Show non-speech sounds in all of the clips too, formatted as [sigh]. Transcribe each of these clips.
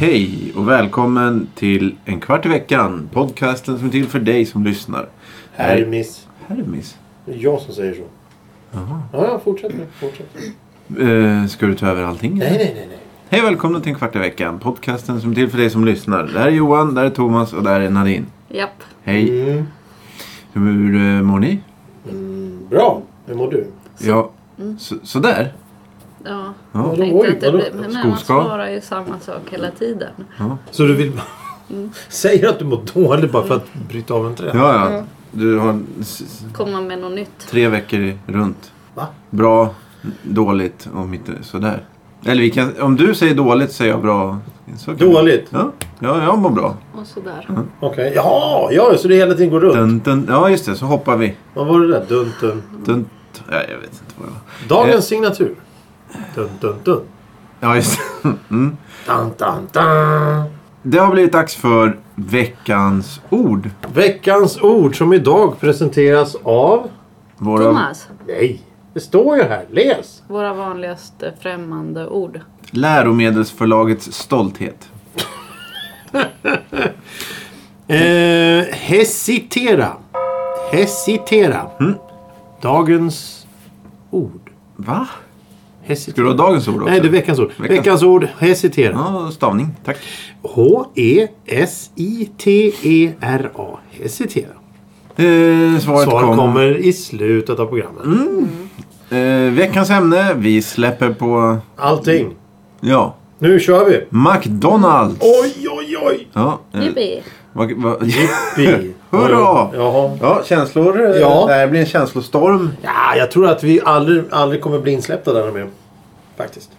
Hej och välkommen till En kvart i veckan. Podcasten som är till för dig som lyssnar. Hermis. Hermis. Det är jag som säger så. Aha. Ja, ja, fortsätt nu. Fortsätt. Eh, ska du ta över allting? Nej, nej, nej, nej. Hej och välkomna till En kvart i veckan. Podcasten som är till för dig som lyssnar. Där är Johan, där är Thomas och där är Nadine. Japp. Hej. Mm. Hur eh, mår ni? Mm, bra. Hur mår du? Ja, så, sådär. Ja. Ja. Jag tänkte Oj, att det vadå? blir- men man Skoskav? svarar ju samma sak hela tiden. Så du vill bara... [laughs] Säger att du mår dåligt bara för att bryta av en träd? Ja, ja. Du har s- s- Komma med något nytt. tre veckor i- runt. Va? Bra, dåligt och mitt, sådär. Eller vi kan, om du säger dåligt säger jag bra. Så kan vi- Dåligt? Ja, ja jag mår bra. Och sådär. Okej. Ja, ja, så det hela tiden går runt. Dun, dun, ja, just det. Så hoppar vi. Vad var det där? Dun, dun. Dun, ja, jag vet inte vad det var. Dagens Eh. signatur. Dun, dun, dun. Ja, just det. [laughs] Mm. Dun, dun, dun. Det har blivit dags för veckans ord. Veckans ord som idag presenteras av... Våra, Thomas, Nej, det står ju här. Läs! våra vanligaste främmande ord. Läromedelsförlagets stolthet. Eh, hesitera. Hesitera. Mm. Dagens ord. Va? Ska Hesitera. du ha dagens ord också? Nej, det är veckans ord. Veckans- Veckans ord. Hesitera. E Ja, stavning. Tack. H-E-S-I-T-E-R-A. E Hesitera. Eh, svaret Svar kom. kommer i slutet av programmet. Mm. Eh, veckans ämne. Vi släpper på... Allting. Ja. Nu kör vi! McDonalds. Oj, oj, oj! Ja, eh, Jippi. vad- vad- [laughs] Bi. Hurra! Jaha. ja, känslor. eh, Ja. Det här blir en känslostorm. Ja, jag tror att vi aldrig, aldrig kommer bli insläppta där med. Faktiskt.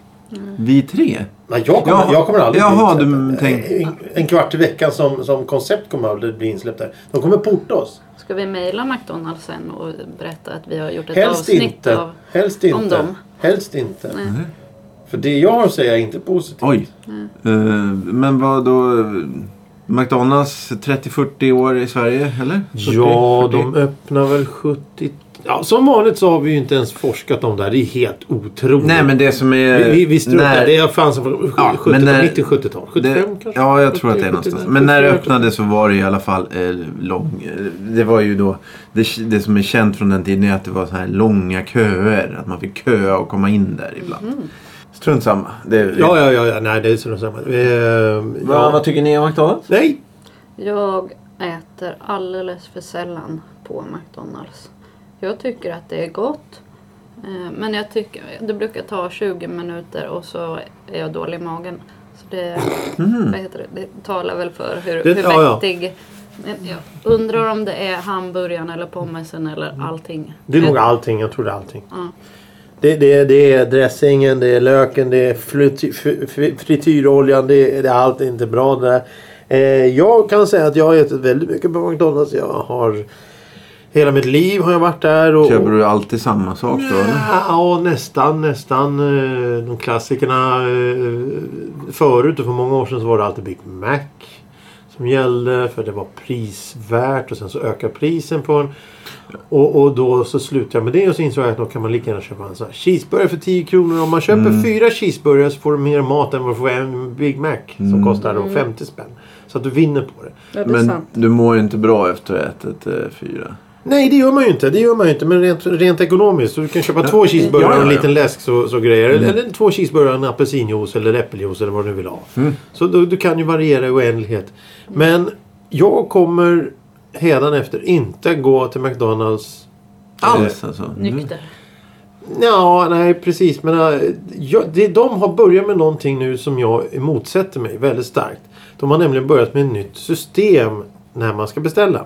Vi tre. Nej, jag kommer, Jaha. jag kommer aldrig Jaha, bli du insläppt. En, en kvart i veckan som, som koncept kommer aldrig bli insläppt där. De kommer porta oss. Ska vi mejla McDonalds sen och berätta att vi har gjort ett Helst avsnitt inte. av... Helst om inte. dem. Helst inte. För det jag har att säga är inte positivt. Oj. Eh, men vad då? eh, McDonalds 30-40 år i Sverige, eller? 40, Ja, 40. de öppnar väl 70... Ja, som vanligt så har vi ju inte ens forskat om det här. Det är helt otroligt. Nej, men det som är... vi, vi, vi struntar. när- Det är fanns från Ja, 70 men när- 90 70-tal. 75 det, kanske? Ja, jag tror att det är 70, någonstans. 75, Men när det 75. öppnade så var det i alla fall eh, lång... eh, Det var ju då... Det, det som är känt från den tiden är att det var så här långa köer. Att man fick köa och komma in där ibland. Strunt samma. Det, Mhm. Ja, ja, ja, ja. Nej, det är så samma. Ehm, Vad- ja. Vad tycker ni om McDonalds? Nej! Jag äter alldeles för sällan på McDonalds. Jag tycker att det är gott. eh, Men jag tycker, det brukar ta 20 minuter och så är jag dålig i magen. Så det, Mm. vad heter det? det talar väl för hur, Det- hur ja, ja. vettig... Men Jag undrar om det är hamburgaren eller pommesen eller allting. Det är nog Jag- allting. Jag tror det är allting. Ja. Det, det, det är dressingen, det är löken, det är frity, fri- fri- frityroljan, det, är- det är allt inte bra det där. Eh, jag kan säga att jag har ätit väldigt mycket på McDonalds. Jag har... Hela mitt liv har jag varit där. Och, Köper du alltid samma sak då? eller? Ja, ja, nästan, nästan. eh, De klassikerna. eh, Förut och för många år sedan så var det alltid Big Mac. Som gällde för det var prisvärt och sen så ökar prisen på en. Och, och då så slutade jag med det och så insåg jag att då kan man lika gärna köpa en sån här cheeseburgare för 10 kronor. Om man köper fyra cheeseburgare så får du mer mat än vad du får en Big Mac. Som kostar då 50 spänn. Så att du vinner på det. Ja, det är Men sant. du mår ju inte bra efter att ha ätit eh, fyra. Nej, det gör man ju inte. Det gör man ju inte. Men rent, rent ekonomiskt. Så du kan köpa två cheeseburgare ja, ja. Mm. och en liten läsk så, så grejer. Eller, eller två cheeseburgare och en apelsinjuice eller äppeljuice eller vad du nu vill ha. Mm. Så du, du kan ju variera i oändlighet. Men jag kommer hädanefter inte gå till McDonalds alls. Alls alltså. Nykter. Ja, nej precis. Men äh, jag, det, de har börjat med någonting nu som jag motsätter mig väldigt starkt. De har nämligen börjat med ett nytt system när man ska beställa.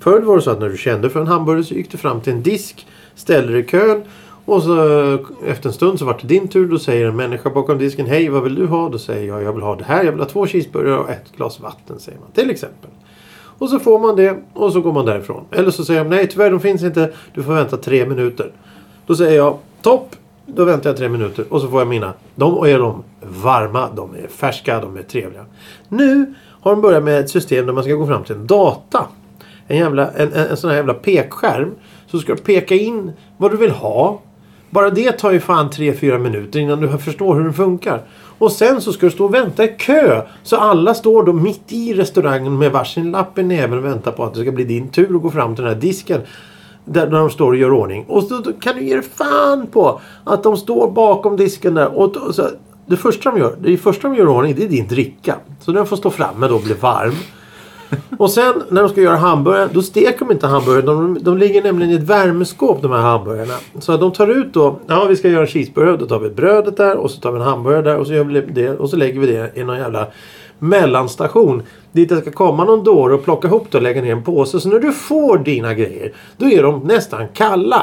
Förut var det så att när du kände för en hamburgare så gick du fram till en disk, ställde dig i kön och så äh, efter en stund så var det din tur. Då säger en människa bakom disken Hej, vad vill du ha? Då säger jag jag vill ha det här. Jag vill ha två cheeseburgare och ett glas vatten säger man till exempel. Och så får man det och så går man därifrån. Eller så säger de nej tyvärr de finns inte. Du får vänta tre minuter. Då säger jag topp. Då väntar jag tre minuter och så får jag mina. De är de varma, de är färska, de är trevliga. Nu har de börjat med ett system där man ska gå fram till en data. En, jävla, en, en, en sån här jävla pekskärm. Så ska du peka in vad du vill ha. Bara det tar ju fan 3-4 minuter innan du förstår hur den funkar. Och sen så ska du stå och vänta i kö. Så alla står då mitt i restaurangen med varsin lapp i näven och väntar på att det ska bli din tur att gå fram till den här disken. Där där de står och gör ordning. Och så då kan du ge dig fan på att de står bakom disken där. Och då, så, det första de gör, det första de gör i ordning det är din dricka. Så den får stå framme då och bli varm. Och sen när de ska göra hamburgaren, då steker de inte hamburgaren. De, de ligger nämligen i ett värmeskåp de här hamburgarna. Så de tar ut då, ja vi ska göra en cheeseburgare. Då tar vi brödet där och så tar vi en hamburgare där och så gör vi det. Och så lägger vi det i någon jävla mellanstation. Dit det ska komma någon dåre och plocka ihop det och lägga ner en påse. Så när du får dina grejer, då är de nästan kalla.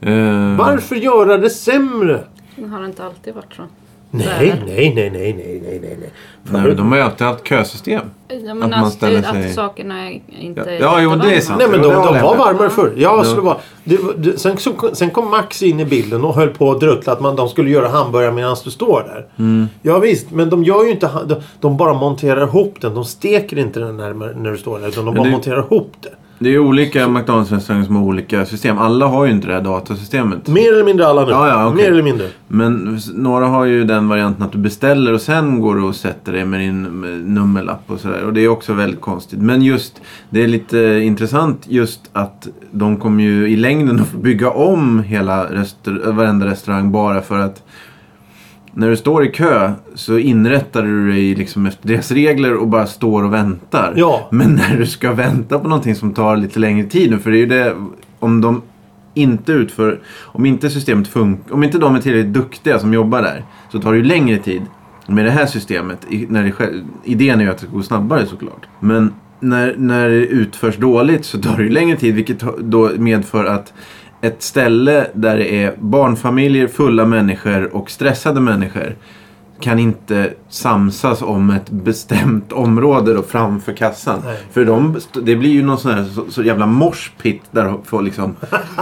Eh, Varför göra det sämre? Det har inte alltid varit så. Nej, nej, nej, nej, nej, nej, nej. nej. Nej, men de har ju alltid haft kösystem. Ja, Att men alltså, man att, ställer att, sig- sakerna är inte Ja, ja, jo, jättevarma. det är sant. Nej men Jo, de, det de håller jag var med. varmare förr. Ja, skulle vara. Det, var- det, sen, så, sen kom Max in i bilden och höll på att druttla att man, de skulle göra hamburgare medan du står där. Mm. Ja visst, men de gör ju inte... ha- De, de bara monterar ihop den. De steker inte den närmare när du står där. Utan de bara det- monterar ihop det. Det är ju olika McDonalds-restauranger som har olika system. Alla har ju inte det här datasystemet. Mer eller mindre alla nu. Ja, ja, okej. Mer eller mindre. Men s- några har ju den varianten att du beställer och sen går du och sätter dig med din mm, nummerlapp och sådär. Och det är också väldigt konstigt. Men just, det är lite intressant just att de kommer ju i längden att få bygga om hela restaur- varenda restaurang bara för att när du står i kö så inrättar du dig liksom efter deras regler och bara står och väntar. Ja. Men när du ska vänta på någonting som tar lite längre tid nu, för det är ju det om de inte utför, om inte systemet funkar, om inte de är tillräckligt duktiga som jobbar där så tar det ju längre tid med det här systemet. i- När det, själv- idén är ju att det ska gå snabbare såklart. Men när, när det utförs dåligt så tar det ju längre tid vilket då medför att ett ställe där det är barnfamiljer, fulla människor och stressade människor kan inte samsas om ett bestämt område då framför kassan. Nej. För de, det blir ju någon sån här så, så jävla morspitt där folk [laughs] liksom,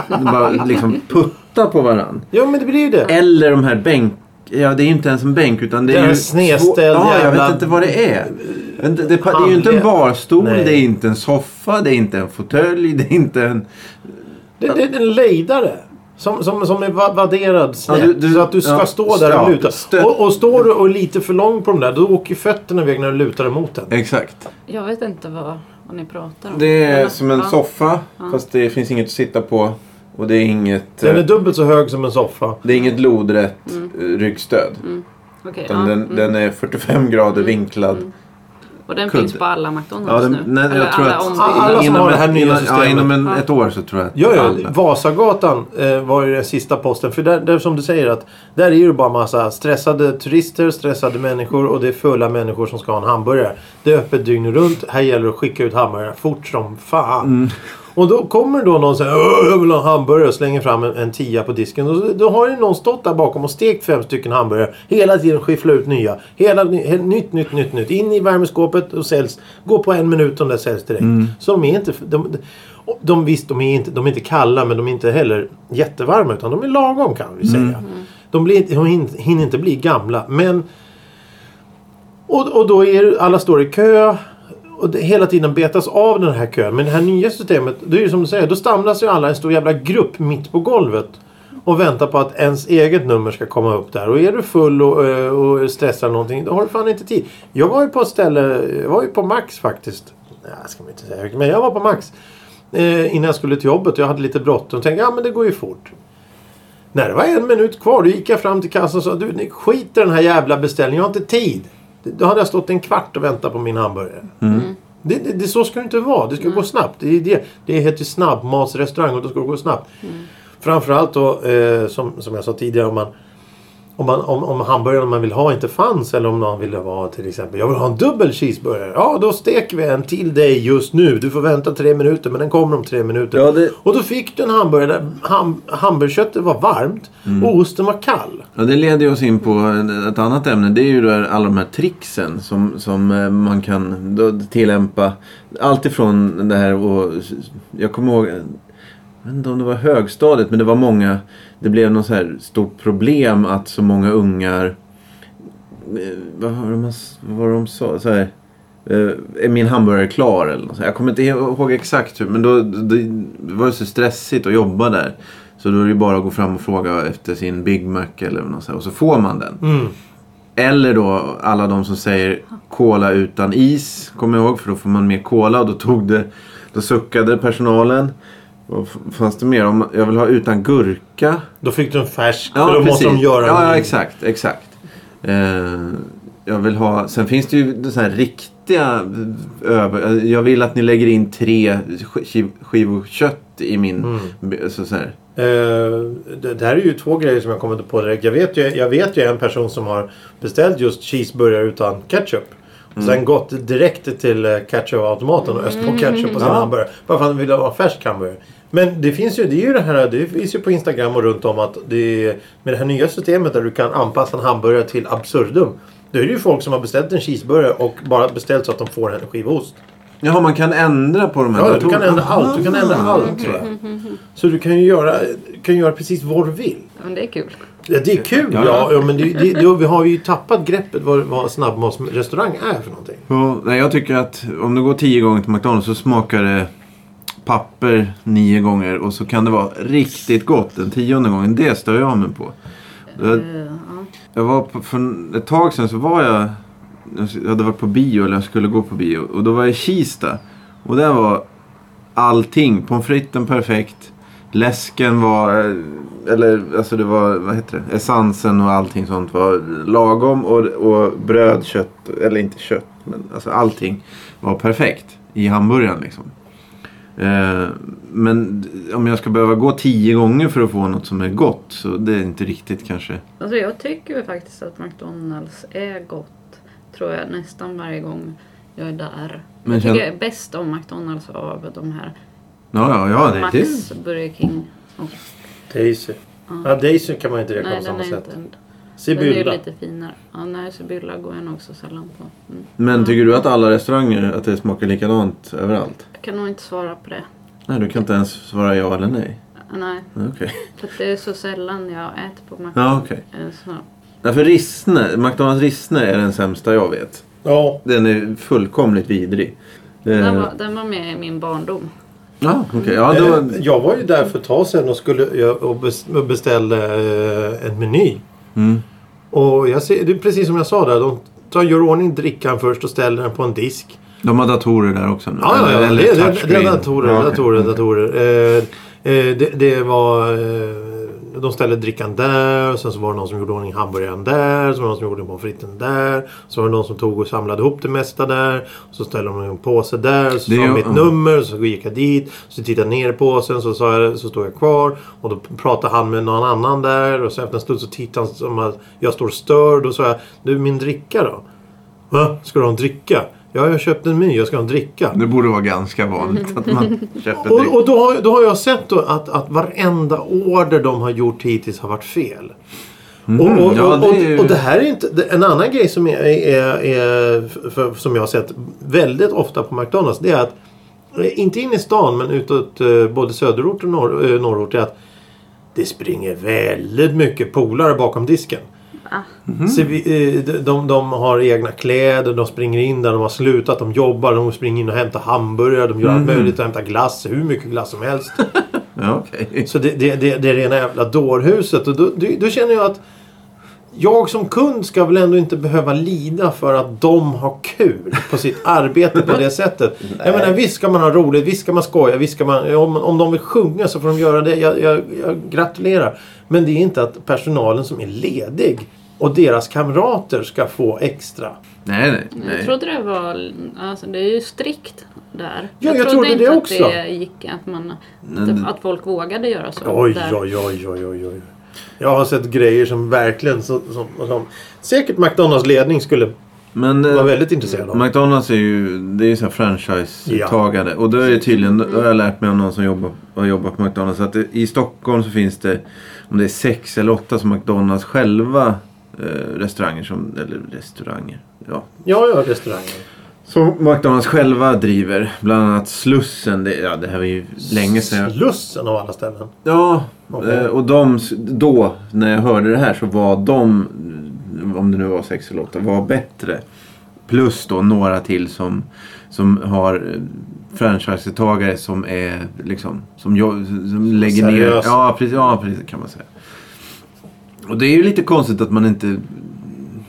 de bara liksom puttar på varann. Ja men det blir ju det. Eller de här bänk... Ja, det är ju inte ens en bänk utan det Det är är ju... en snedställd två- Ja, jag jävla- vet inte vad det är. Men det, det, det är ju inte Handled. en barstol, Nej. det är inte en soffa, det är inte en fåtölj, det är inte en... Det, det är en lejdare. Som, som, som är va- vadderad snett. Ja, du- du- så att du ska ja, stå där och stöp- luta. stöp. Och, och står du och är lite för lång på de där då åker ju fötterna iväg när du lutar emot den. Exakt. Jag vet inte vad, vad ni pratar om. Det är Men- som en ja. soffa, fast det finns inget att sitta på. Och det är inget... Den är eh, dubbelt så hög som en soffa. Det är inget lodrätt eh, ryggstöd. Okej, Utan Mm. ja, den, mm. den är 45 grader vinklad. Och den kudde. finns på alla McDonalds Ja, den, nu? nej, Eller jag tror alla att om- Alla som inom har det här ett- nya inom- Ja, systemet. inom en, Ja. ett år så tror jag att Ja, ja. alla- Vasagatan eh, var ju den sista posten. För där, där som du säger att där är ju bara massa stressade turister, stressade människor och det är fulla människor som ska ha en hamburgare. Det är öppet dygnet runt. Här gäller det att skicka ut hamburgare fort som fan. Och då kommer då någon säger "Åh, jag vill ha en hamburgare och slänger fram en, en tia på disken. Och så, då har ju någon stått där bakom och stekt fem stycken hamburgare. Hela tiden skyffla ut nya. Hela, ny- he- nytt, nytt, nytt, nytt. In i värmeskåpet och säljs. Gå på en minut och de där säljs direkt. Så de är inte... De, de- och de, visst, de är, inte, de är inte kalla men de är inte heller jättevarma utan de är lagom kan vi säga. De, blir, inte- de hin- hinner inte bli gamla men och, och då är det- alla står i kö. Och det, hela tiden betas av den här kön. Men det här nya systemet, det är ju som du säger, då samlas ju alla i en stor jävla grupp mitt på golvet. Och väntar på att ens eget nummer ska komma upp där. Och är du full och, eh, och stressad eller någonting, då har du fan inte tid. Jag var ju på ett ställe, jag var ju på Max faktiskt. Nej, ska man inte säga. vilket, Men jag var på Max. Eh, innan jag skulle till jobbet. Jag hade lite bråttom. Tänkte, ja men det går ju fort. När det var en minut kvar då gick jag fram till kassan och sa du ni skiter i den här jävla beställningen, jag har inte tid. Då hade jag stått en kvart och väntat på min hamburgare. Det, det, det, så ska det inte vara, det ska gå snabbt. Det, är det, det heter ju snabbmatsrestaurang och då ska det gå snabbt. Framförallt då eh, som, som jag sa tidigare om man om, man, om, om hamburgaren man vill ha inte fanns eller om någon ville vara till exempel. Jag vill ha en dubbel cheeseburgare. Ja, då steker vi en till dig just nu. Du får vänta tre minuter men den kommer om tre minuter. Ja, det- Och då fick du en hamburgare där ham, hamburgerköttet var varmt Mm. och osten var kall. Ja, det leder ju oss in på ett annat ämne. Det är ju där alla de här tricksen som, som eh, man kan då tillämpa. Allt ifrån det här och... Jag kommer ihåg... jag vet inte om det var högstadiet, men det var många. Det blev något så här stort problem att så många ungar... eh, Vad var det, man, vad var det de sa? Så här, eh, är min hamburgare klar? Eller något så här. jag kommer inte ihåg exakt hur, men då, det, det var ju så stressigt att jobba där. Så då är det ju bara att gå fram och fråga efter sin Big Mac eller något så här, och så får man den. Mm. Eller då alla de som säger cola utan is. Kommer jag ihåg för då får man mer cola och då tog det. Då suckade personalen. Vad f- fanns det mer? Om jag vill ha utan gurka. Då fick du en färsk. för då måste de göra ja, en ja, ny. exakt. exakt. Eh, jag vill ha... Sen finns det ju så här riktiga... Över, jag vill att ni lägger in tre skiv, skivor kött i min... Mm. Så, så här. Eh, det, det här är ju två grejer som jag kommer inte på direkt. Jag vet, ju, jag vet ju en person som har beställt just cheeseburgare utan ketchup. Och Mm. sen gått direkt till eh, ketchupautomaten och öst på ketchup på sin Ja. hamburgare. Bara för att han ville ha färsk hamburgare. Men det finns ju, det är ju det här, det finns ju på Instagram och runt om att det är, med det här nya systemet där du kan anpassa en hamburgare till absurdum. Då är det ju folk som har beställt en cheeseburgare och bara beställt så att de får en skiva ost. Jaha, man kan ändra på de här Ja, du kan datorerna. ändra allt. Du kan ändra Ah, allt okej. tror jag. Så du kan ju göra, kan göra precis vad du vill. Men det är kul. Ja, det är kul. Ja. Ja, ja. men det, det, det, vi har ju tappat greppet vad, vad snabbmatsrestaurang är för någonting. Ja, nej, jag tycker att om du går tio gånger till McDonalds så smakar det papper nio gånger och så kan det vara riktigt gott den tionde gången. Det stör jag mig på. Jag, Eh, ja. jag var på, för ett tag sedan så var jag, jag hade varit på bio eller jag skulle gå på bio och då var jag i Kista. Och där var allting, pommes fritesen perfekt, läsken var, eh, eller alltså det var, vad heter det, essensen och allting sånt var lagom och, och bröd, kött, eller inte kött, men alltså allting var perfekt i hamburgaren liksom. Eh, Men om jag ska behöva gå tio gånger för att få något som är gott så det är inte riktigt kanske Alltså jag tycker ju faktiskt att McDonalds är gott. Tror jag nästan varje gång jag är där. Men jag känn- tycker jag är bäst om McDonalds av de här. Ja, ja, ja. Det, det, Max, Burger King och... Daisy. Ja, Daisy kan man inte räkna Nej, på den samma är sätt. inte... Den är ju Sibylla. lite finare. Ja, nej, Sibylla går jag nog så sällan på. Mm. men tycker du att alla restauranger att det smakar likadant överallt? Jag kan nog inte svara på det. Nej, du kan inte ens svara ja eller nej. Nej, Okej. för att det är så sällan jag äter på McDonalds. Ja, okej. Eh, Så, Därför Rissne, McDonalds Rissne är den sämsta jag vet. Ja. Den är fullkomligt vidrig. Det- den, var, den var med i min barndom. Ja, okej. Ja, Eh, då... Jag var ju där för ett tag sedan och, skulle, jag- och bes- och beställde eh, en meny. Mm. Och jag ser, det är precis som jag sa där. De tar, gör ordning drickan först och ställer den på en disk. De har datorer där också nu. Ja, ja, ja. Eller Det, det, touchscreen. det är datorer. Ja, okej. datorer, datorer. Eh, eh, det, det var... Eh, de ställde drickan där. och Sen så var det någon som gjorde ordning hamburgaren där. Så var det någon som gjorde pommes fritesen där. Så var det någon som tog och samlade ihop det mesta där. Så ställde de en påse där. Så Det sa är- de mitt ja. nummer. Så gick jag dit. Så tittade jag ner i påsen. Så, sa jag, så stod jag kvar. Och då pratade han med någon annan där. Och så efter en stund så tittade han som att jag står störd. Då sa jag, du min dricka då? Va? Ska du ha en dricka? Ja, jag köpte en meny. Jag ska ha en dricka. Det borde vara ganska [laughs] vanligt att man köper dryck. Och, och då, har, då har jag sett då att, att varenda order de har gjort hittills har varit fel. och, och, Mm. ja, och, det och, är ju- och det här är inte... det- En annan grej som, är, är, är, för, som jag har sett väldigt ofta på McDonalds det är att, eh, inte in i stan men utåt eh, både söderort och norr, eh, norrort, är att det springer väldigt mycket polare bakom disken. Va? Så vi, eh, de, de, de har egna kläder, de springer in där de har slutat, de jobbar, de springer in och hämtar hamburgare, de gör allt Mm. möjligt, de hämtar glass, hur mycket glass som helst. Ja, okej. Så det, det, det, det är rena jävla dårhuset. Och då, då, då känner jag att jag som kund ska väl ändå inte behöva lida för att de har kul på sitt arbete på [laughs] det sättet. Jag menar visst ska man ha roligt, visst ska man skoja, visst ska man... Om, om de vill sjunga så får de göra det. Jag, jag, jag gratulerar. Men det är inte att personalen som är ledig och deras kamrater ska få extra. Nej, nej. nej. Jag trodde det var... Alltså, det är ju strikt där. Ja, jag trodde inte det att också. det gick att, man, Men- att, att folk vågade göra så. Oj, där. oj, oj, oj, oj, oj. Jag har sett grejer som verkligen... Som, som, som, säkert McDonalds ledning skulle Men, vara eh, väldigt intresserad av. McDonalds är ju, det är ju så här franchisetagare. Och då är det tydligen, då har jag lärt mig av någon som jobbar, har jobbat på McDonalds. Att det, i Stockholm så finns det, om det är sex eller åtta som McDonalds själva eh, restauranger som, eller restauranger. Ja, Ja, ja, restaurangen. Som McDonalds själva driver. Bland annat Slussen. Det, ja, det här var ju länge sedan. jag- Slussen av alla ställen. Ja, Okej. eh, och de, då när jag hörde det här så var de, om det nu var sex eller åtta, var bättre. Plus då några till som, som har eh, franchisetagare som är liksom, som, jobb, som lägger ner. Seriösa. Ja precis, ja, precis kan man säga. Och det är ju lite konstigt att man inte,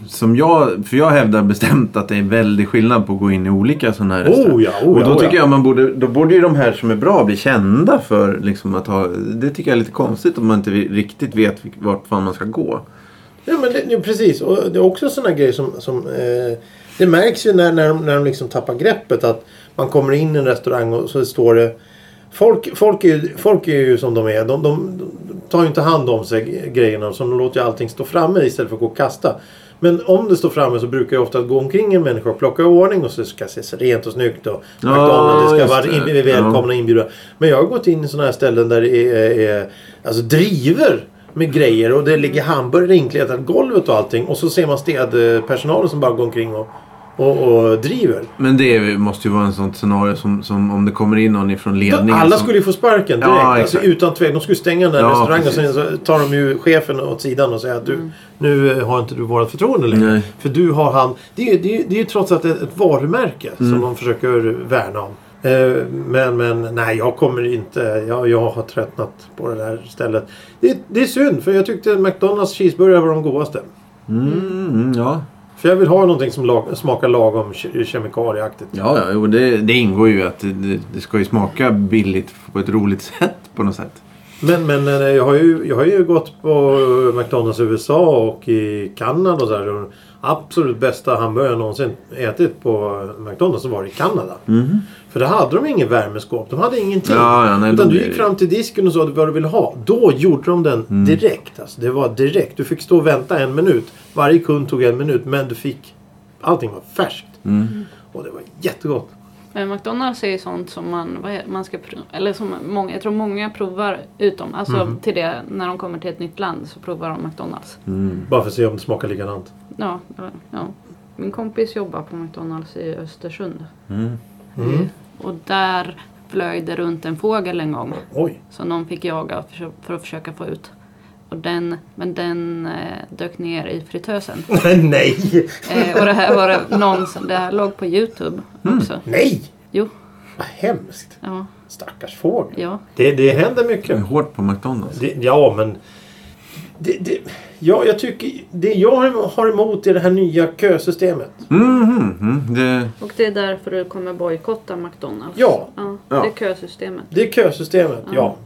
som jag, för jag hävdar bestämt att det är väldigt skillnad på att gå in i olika sådana här Oh ja, oh och ja, då oh tycker ja. jag man borde, då borde ju de här som är bra bli kända för liksom att ha, det tycker jag är lite konstigt om man inte riktigt vet vilk- vart fan man ska gå. Ja, men det, ja, precis. Och det är också sådana grejer som... som eh, det märks ju när, när, de, när de liksom tappar greppet att man kommer in i en restaurang och så står det... Folk, folk, är, ju- folk är ju som de är. De, de, de tar ju inte hand om sig grejerna. Så de låter ju allting stå framme istället för att gå och kasta. Men om det står framme så brukar det ofta gå omkring en människa och plocka i ordning och så ska det se rent och snyggt och Ja, McDonalds det ska just vara det. in, välkomna Ja. inbjudna. Men jag har gått in i sådana här ställen där det är, är alltså driver med grejer och det ligger hamburgare inkletat golvet och allting och så ser man städpersonalen som bara går omkring och, och, och driver. Men det är- måste ju vara en sån scenario som, som om det kommer in någon ifrån ledningen. Alla som, skulle ju få sparken direkt. Ja, alltså, exakt. utan tvekan. De skulle stänga den där Ja, restaurangen och sen precis. så tar de ju chefen åt sidan och säger att du, nu eh, har inte du vårt förtroende längre. Nej. För du har han. Det är ju det är, ju- det är ju trots allt ett, ett varumärke Mm. som de försöker värna om. Eh, Men, men nej, jag kommer inte. Jag, jag har tröttnat på det där stället. Det, det är synd, för jag tyckte McDonalds cheeseburgare var de godaste. Mm, mm, ja. För jag vill ha någonting som lag, smakar lagom ke- kemikalieaktigt. Ja, ja jo, det, det ingår ju att det- det, det ska ju smaka billigt på ett roligt [laughs] sätt på något sätt. Men, men eh, jag, har ju, jag har ju gått på eh, McDonalds i USA och i Kanada och så här. Den absolut bästa hamburgaren jag någonsin ätit på eh, McDonalds så var det i Kanada. För där hade de ingen värmeskåp. De hade ingenting. Mhm. Ja, ja, nej, Utan de du är- Mm. gick fram till disken och sa vad du ville ha. Då gjorde de den direkt. Alltså, det var direkt. Du fick stå och vänta en minut. Varje kund tog en minut. Men du fick... Allting var färskt. Mm. Och det var jättegott. Men McDonalds är ju sånt som man, vad heter, man ska pro- eller som många, jag tror många provar utom, alltså Mm. till det när de kommer till ett nytt land så provar de McDonalds. Bara för att se om det smakar likadant. Ja, eller- ja. Min kompis jobbar på McDonalds i Östersund. Mm. Och där flög det runt en fågel en gång [laughs] Oj. som någon fick jaga för, för att försöka få ut. Och den, men den eh, dök ner i fritösen. Nej! Eh, och det här var det någon som, det här låg på Youtube också. Nej! Jo, Vad hemskt. ja, Stackars fågel. ja. Det, det händer Det är mycket. hårt på McDonalds. Det, ja, men... Det, det, ja, jag tycker... Det jag har emot är det här nya kösystemet. Mhm, mm, det, Och det är därför du kommer bojkotta McDonalds? Ja. Det Ja. är kösystemet. Det är kösystemet, ja.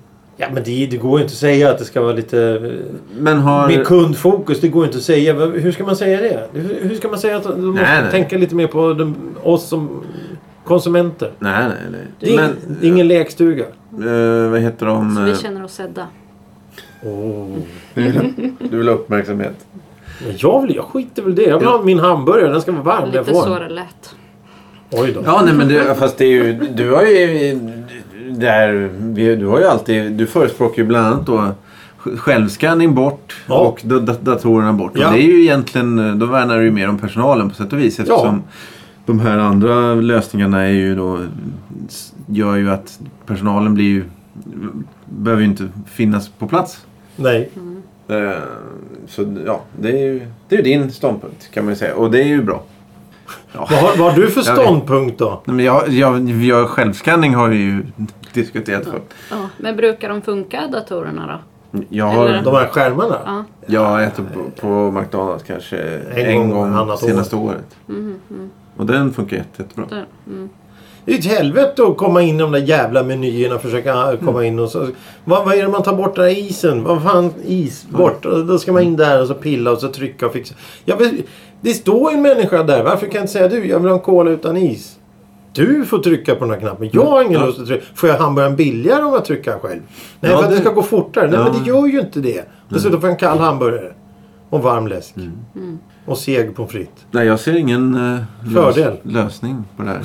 Ja, men det, det går ju inte att säga att det ska vara lite... eh, men har... Med kundfokus, det går inte att säga. Va- Hur ska man säga det? Hur, hur ska man säga att de måste Nej, nej. tänka lite mer på de, oss som konsumenter? Nej, nej, nej. Det är, men, ingen- det är ingen lekstuga. eh, vad heter de? Så vi eh, känner oss sedda. Åh. Du vill ha uppmärksamhet. Men jag, vill, jag skiter väl i det. Jag vill ha min hamburgare. Den ska vara varm. Lite den får så den. det lät. Oj då. Ja, nej men du, fast det är ju, du har ju, där, vi- du har ju alltid, du förespråkar ju bland annat då självskanning bort Ja. och da- da- datorerna bort. Ja. Och det är ju egentligen, då värnar du ju mer om personalen på sätt och vis eftersom de här andra lösningarna är ju då, gör ju att personalen blir ju, behöver ju inte finnas på plats. Nej. Eh, Så ja, det är ju, det är ju din ståndpunkt kan man ju säga och det är ju bra. Ja. Vad har, vad har du för Jag vet. ståndpunkt då? Nej, men jag, jag, jag, självskanning har vi ju diskuterat förut. Ja. Men brukar de funka datorerna då? Jag De har, Eller- här skärmarna? Ja. jag har ätit på, på McDonalds kanske en, gång gång, annat senaste året. Mm, Och den funkar jätte, jättebra. Där. Mm. Det är ett helvete att komma in i de där jävla menyerna och försöka Mm. komma in och så. Vad, vad är det man tar bort den där isen? Vad fan is? Bort. Och Då ska man in där och så pilla och så trycka och fixa. Jag vill, det står ju en människa där. Varför kan jag inte säga du? Jag vill ha en cola utan is. Du får trycka på den här knappen. Jag har ingen Ja. lust att trycka. Får jag hamburgaren billigare om jag trycker själv? Nej, Ja, för att det det- ska gå fortare. Nej, Ja. Mm. men det gör ju inte det. Dessutom får jag en kall hamburgare. Och varm läsk. Och seg pommes frites. Nej, jag ser ingen eh, Fördel. lösning på [laughs] det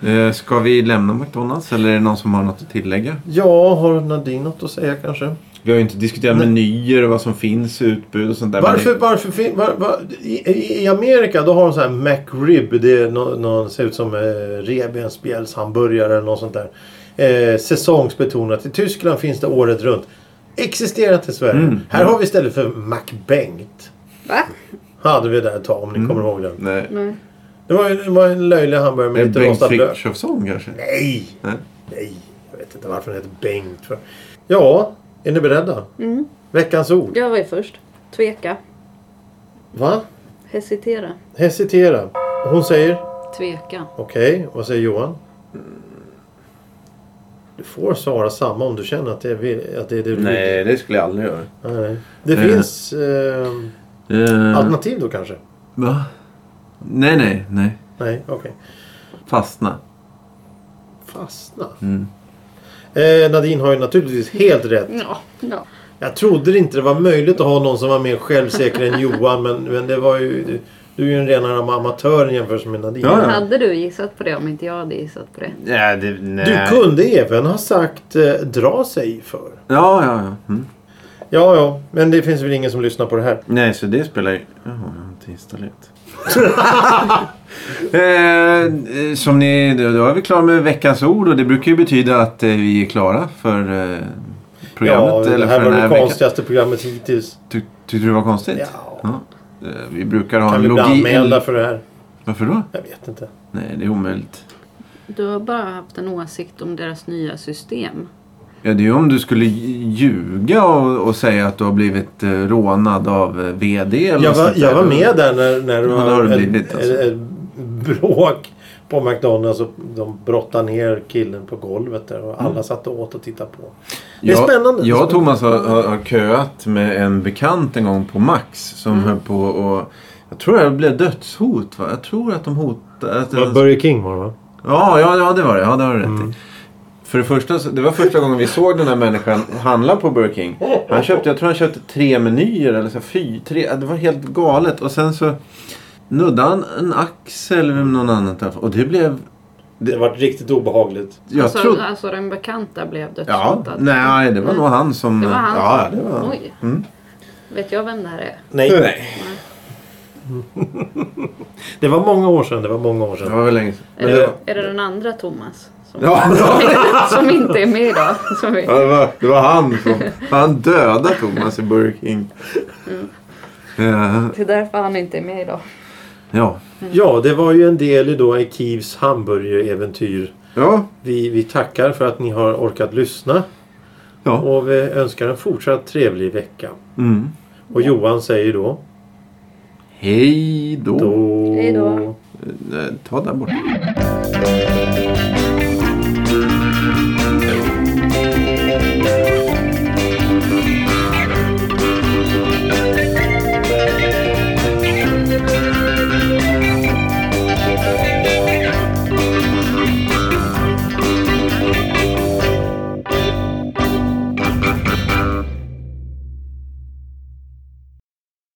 här. eh, ska vi lämna McDonalds eller är det någon som har något att tillägga? Ja, har Nadine något att säga kanske? Vi har ju inte diskuterat menyer och vad som finns i utbud och sånt där. men Varför, varför fin- var, var, i, i- I Amerika då har de så här McRib. Det är nå- någon, ser ut som eh, revbensspjälshamburgare eller något sånt där. Eh, säsongsbetonat. I Tyskland finns det året runt. Existerar inte i Sverige. Mm, Här har vi istället för McBengt. Va? Hade vi där ett tag Mm. om ni kommer ihåg den. Nej. Nej. Det var, ju- det var en löjlig hamburgare Är med det lite Bengt rostad lök. Frithiofsson kanske? Nej! Nej. Nej, jag vet inte varför den heter Bengt. För. Ja, är ni beredda? Mm. Veckans ord. Jag var ju först. Tveka. Va? Hesitera. Hesitera. Hon säger Tveka. okej. Vad säger Johan? Du får svara samma om du känner att det är, vi- att det, är det du vill. Nej, det skulle jag aldrig göra. Nej, nej. Det Eh. finns eh, Mm. Eh, alternativ då kanske? va? Nej, nej, nej. Nej, okej. Fastna. Fastna. Mm. Eh, Nadine har ju naturligtvis helt rätt. Ja. ja. Jag trodde inte det var möjligt att ha någon som var mer självsäker än Johan. Men, men det var ju... Du är ju en renare amatör jämfört med Nadine. Ja, ja. Hade du gissat på det om inte jag hade gissat på det? Ja, det, nej. Du kunde även ha sagt eh, dra sig för. Ja, ja, ja. Mm. Ja, ja. Men det finns väl ingen som lyssnar på det här. Nej, så det spelar ju... Jaha, jag har inte [laughs] installerat. eh, eh, som ni... Då då är vi klara med veckans ord och det brukar ju betyda att eh, vi är klara för eh, programmet. ja, eller det här för var den det här veckan. konstigaste programmet hittills. Ty, tyckte du det var konstigt? Ja. Eh, Vi brukar ha Kan en vi bli logik... anmälda för det här? Varför då? Jag vet inte. Nej, det är omöjligt. Du har bara haft en åsikt om deras nya system. Ja, det är ju om du skulle ljuga och, och säga att du har blivit eh, rånad av eh, VD eller Jag något var, sånt jag där. var med där när, när det Ja, var det har det ett- blivit, alltså. ett- ett bråk på McDonalds och de brottade ner killen på golvet där Mm. och alla satt och åt och tittade på. Det är jag, spännande. Jag och Thomas har, har, har köat med en bekant en gång på Max som Mm. höll på och Jag tror det blev dödshot va? Jag tror att de hotade... Att Det var Burger King var det va? ja, ja, ja, det var det. Ja, det har du rätt i. För det första, så- det var första gången vi såg den här människan handla på Burger King. Han köpte, jag tror han köpte tre menyer eller så här, fy, tre. ja, Det var helt galet. Och sen så nuddade han en axel med någon annan. där. Och det blev... Det var riktigt obehagligt. Jag alltså, trodde... alltså den bekanta blev Ja, dödshotad. nej, det var nog han som... Mm. Det var han Ja, som- det var han. Oj. Mm. Vet jag vem det här är? Nej. [laughs] Det var många år sedan. Det var många år Det sedan. var väl länge sedan. Är Men det var- det, är det den andra Thomas? Som, [laughs] [laughs] Ja, som inte är med idag. Som vi, ja, det, var, det var han som... [laughs] Han dödade Thomas i Burger King. Mm. Ja, det är därför han inte är med idag. ja. Ja, det var ju en del i då i Kivs hamburgeräventyr. ja. Vi, vi tackar för att ni har orkat lyssna ja. och vi önskar en fortsatt trevlig vecka. Mm. Och Johan säger då... Hej då. Då... Hej då. Eh, Ta där borta. Hej